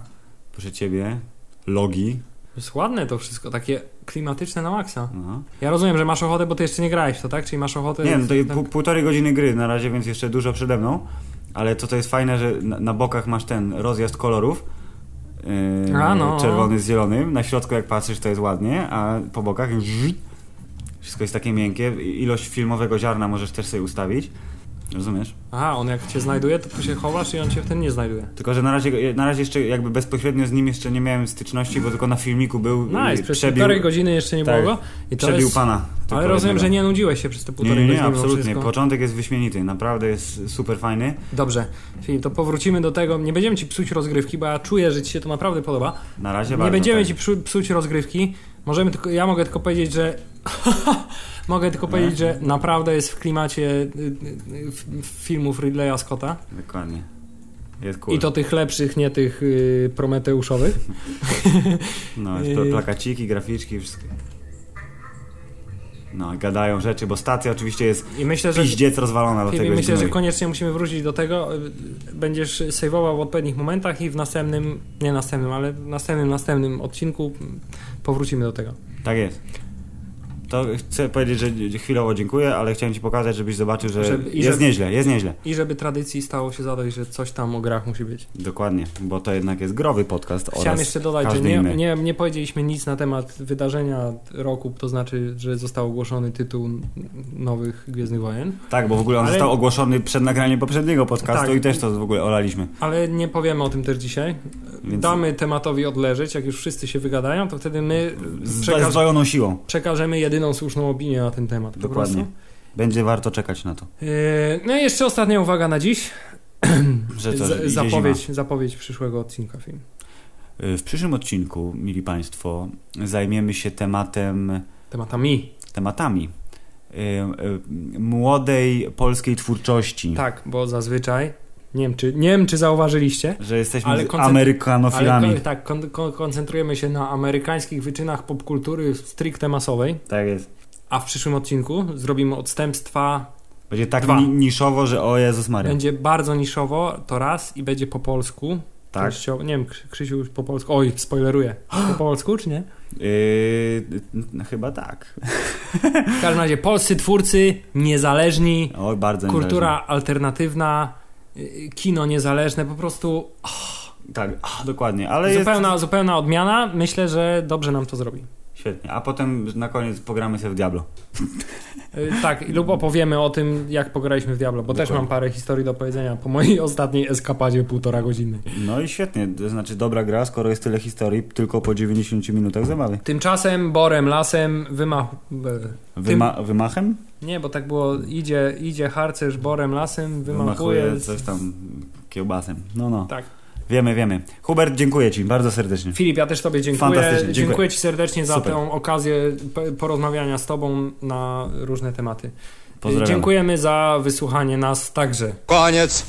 proszę ciebie, logi.
Jest ładne to wszystko, takie klimatyczne na maksa.
No.
Ja rozumiem, że masz ochotę, bo ty jeszcze nie grałeś w to, tak? Czyli masz ochotę...
Nie, no to jest
tak-
pół, półtorej godziny gry na razie, więc jeszcze dużo przede mną. Ale to, co jest fajne, że na, na bokach masz ten rozjazd kolorów. Yy,
A, no.
Czerwony z zielonym. Na środku, jak patrzysz, to jest ładnie, a po bokach już wszystko jest takie miękkie. I- Ilość filmowego ziarna możesz też sobie ustawić. Rozumiesz?
Aha, on jak cię znajduje, to tu się chowasz i on cię wtedy nie znajduje.
Tylko, że na razie, na razie jeszcze jakby bezpośrednio z nim jeszcze nie miałem styczności, bo tylko na filmiku był i
Nice, przez
przebił,
półtorej godziny jeszcze nie
tak,
było go. I to
przebił
jest...
pana. tylko
Ale rozumiem,
jednego.
że nie nudziłeś się przez te
Nie,
półtorej
nie, nie,
godziny. mimo
absolutnie.
wszystko.
Początek jest wyśmienity, naprawdę jest super fajny.
Dobrze, Filip, to powrócimy do tego. Nie będziemy ci psuć rozgrywki, bo ja czuję, że ci się to naprawdę podoba.
Na razie
nie
bardzo.
będziemy
tak.
ci psu, psuć rozgrywki. Możemy tylko, ja mogę tylko powiedzieć, że mogę tylko
Nie?
powiedzieć, że naprawdę jest w klimacie y, y, y, f- filmów Ridleya Scotta
Dokładnie. Jest cool.
i to tych lepszych, nie tych y, prometeuszowych.
No, jest
Yy.
pl- plakaciki, graficzki, wszystko. No, gadają rzeczy, bo stacja oczywiście jest
I myślę, że
piździec rozwalona do
Filip,
tego
myślę, że koniecznie musimy wrócić do tego. Y, Będziesz sejwował w odpowiednich momentach i w następnym, nie następnym, ale w następnym, następnym odcinku mm, powrócimy do tego.
Tak jest. To chcę powiedzieć, że chwilowo dziękuję, ale chciałem ci pokazać, żebyś zobaczył, że
Żeby- i
jest
żeby-
nieźle, jest nieźle.
I żeby tradycji stało się zadość, że coś tam o grach musi być.
Dokładnie, bo to jednak jest growy podcast
Chciałem
oraz
jeszcze dodać, że
każdy
nie,
inny.
nie, nie powiedzieliśmy nic na temat wydarzenia roku, to znaczy, że został ogłoszony tytuł nowych Gwiezdnych Wojen,
Tak, bo w ogóle on
Ale-
został ogłoszony przed nagraniem poprzedniego podcastu
Tak.
i też to w ogóle olaliśmy.
ale nie powiemy o tym też dzisiaj.
Więc-
Damy tematowi odleżeć, jak już wszyscy się wygadają, to wtedy my
Z
przekaż-
zdwojoną siłą.
przekażemy jedyną słuszną opinię na ten temat. po
Dokładnie.
prostu.
Będzie warto czekać na to.
Yy, No i jeszcze ostatnia uwaga na dziś.
Że co,
Z-
że idzie
zapowiedź, zapowiedź przyszłego odcinka film.
zima. Y, W przyszłym odcinku, mili Państwo, zajmiemy się tematem
Tematami.
tematami y, y, młodej polskiej twórczości.
Tak, bo zazwyczaj, nie wiem czy, nie wiem, czy zauważyliście,
Że jesteśmy
Ale
z-
koncentr-
amerykanofilami.
Ale ko- tak, kon- kon- koncentrujemy się na amerykańskich wyczynach popkultury stricte masowej,
Tak jest.
a w przyszłym odcinku zrobimy odstępstwa.
Będzie tak
Dwa.
ni- niszowo, że o Jezus Maria.
Będzie bardzo niszowo, to raz i będzie po polsku.
Tak.
Częściowo- nie wiem, Krzy- Krzysiu już po polsku. Oj, spoileruję. Po polsku czy nie?
Yy, no, chyba tak.
W każdym razie polscy twórcy, niezależni,
Oj, bardzo niezależnie.
kultura alternatywna, y, kino niezależne, po prostu
Tak, a, dokładnie, ale jest...
zupełna, zupełna odmiana. Myślę, że dobrze nam to zrobi.
Świetnie. A potem na koniec pogramy sobie w Diablo.
Y, Tak, lub opowiemy o tym, jak pograliśmy w Diablo, bo też
Dokładnie.
mam parę historii do powiedzenia po mojej ostatniej eskapadzie półtora godziny.
No i świetnie, to znaczy dobra gra, skoro jest tyle historii, tylko po 90 minutach zabawy.
Tymczasem borem, lasem, wymach... e,
Wyma- Wymachem?
Nie, bo tak było, idzie, idzie harcerz borem, lasem, wymachuje...
Wymachuje
z-
coś tam kiełbasem. No, no.
Tak. Y,
Wiemy, wiemy. Hubert, dziękuję Ci bardzo serdecznie.
Filip, ja też Tobie dziękuję.
Fantastycznie, dziękuję.
dziękuję Ci serdecznie za
Super.
tę okazję p- porozmawiania z Tobą na różne tematy.
Pozdrawiam.
Dziękujemy za wysłuchanie nas także.
Koniec.